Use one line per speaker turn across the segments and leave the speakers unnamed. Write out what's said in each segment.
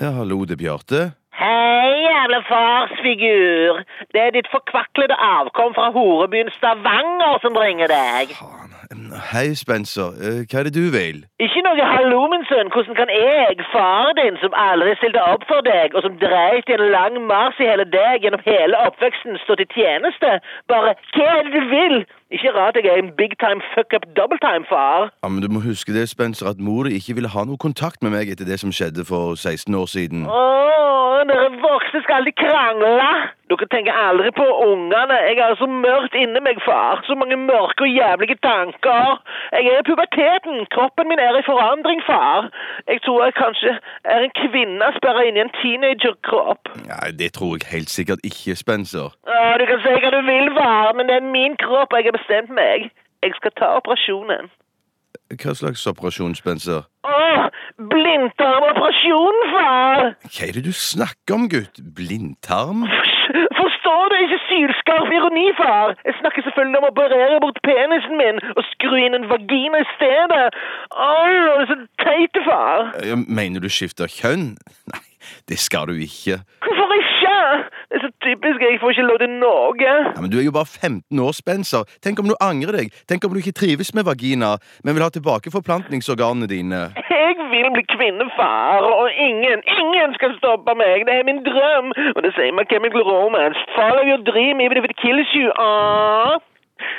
Ja, hallo, det er Bjarte.
Hei, jævla farsfigur. Det er ditt forkvaklede avkom fra horebyen Stavanger som ringer deg.
Faen. Em, Hei, Spencer. Eh, Hva er det du vil?
Ikke noe hallo, min sønn. Hvordan kan jeg, faren din, som aldri stilte opp for deg, og som dreit i en lang marsj i hele deg gjennom hele oppveksten, stå til tjeneste? Bare hva er det du vil? Ikke rart jeg er en big time fuck up double time, far.
Ja, men Du må huske det, Spencer, at mor di ikke ville ha noe kontakt med meg etter det som skjedde for 16 år siden.
Åh, dere voksne skal alltid krangle. Dere tenker aldri på ungene. Jeg har så mørkt inni meg, far. Så mange mørke og jævlige tanker. Jeg er i puberteten. Kroppen min er i forandring, far. Jeg tror jeg kanskje er en kvinne sperra inni en teenagerkropp.
Nei, Det tror jeg helt sikkert ikke, Spencer.
Åh, du kan si hva du vil, far, men det er min kropp, og jeg har bestemt meg. Jeg skal ta operasjonen.
Hva slags operasjon, Spencer?
Åh, blindtarmoperasjonen, far!
Hva er det du snakker om, gutt? Blindtarm?
Forstår du ikke sylskarp ironi, far? Jeg snakker selvfølgelig om å operere bort penisen min og skru inn en vagina i stedet. Åh, du er så teit, far.
Ja, Mener du skifter kjønn? Nei, det skal du ikke.
Hvorfor ikke? Det er så typisk, jeg får ikke lov til noe.
Ja, men Du er jo bare 15 år, Spencer. Tenk om du angrer deg? Tenk om du ikke trives med vagina, men vil ha tilbake forplantningsorganene dine?
Jeg vil bli kvinnefar, og ingen, ingen skal stoppe meg. Det er min drøm. Og det sier meg Chemical Romance. Follow your dream, even if it kills you. Åh.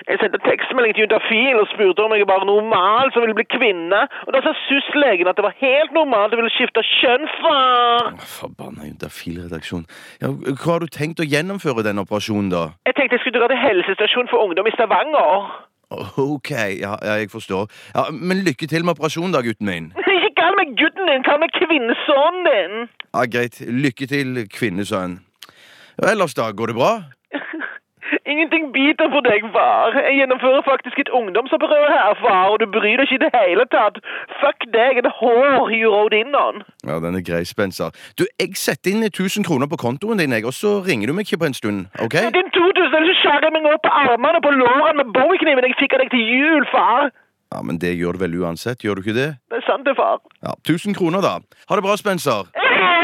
Jeg sendte tekstmelding til Juntafil og spurte om jeg var normal som ville bli kvinne. Og da sa SUS-legen at det var helt normalt å ville skifte kjønn, far.
Å, Forbanna juntafil-redaksjon. Ja, hva har du tenkt å gjennomføre den operasjonen, da?
Jeg tenkte jeg skulle dra til helsestasjonen for ungdom i Stavanger.
Ok, ja, ja jeg forstår. Ja, men lykke til med operasjonen, da, gutten min.
Ikke kall meg gutten din, kall meg kvinnesønnen din.
Ja, Greit. Lykke til, kvinnesønn. Ja, ellers, da? Går det bra?
Ingenting biter på deg, far. Jeg gjennomfører faktisk et ungdomsopprør her, far, og du bryr deg ikke i det hele tatt. Fuck deg, et hår you rode in on.
Ja, den er grei, Spencer. Du, jeg setter inn 1000 kroner på kontoen din, jeg, og så ringer du meg ikke på en stund, OK?
Din 2000 er så skjærer jeg meg opp på armene og på lårene med bowiekniven jeg fikk av deg til jul, far.
Ja, men det gjør du vel uansett, gjør du ikke det?
Det er sant, det, far.
Ja, 1000 kroner, da. Ha det bra, Spencer.
Ja,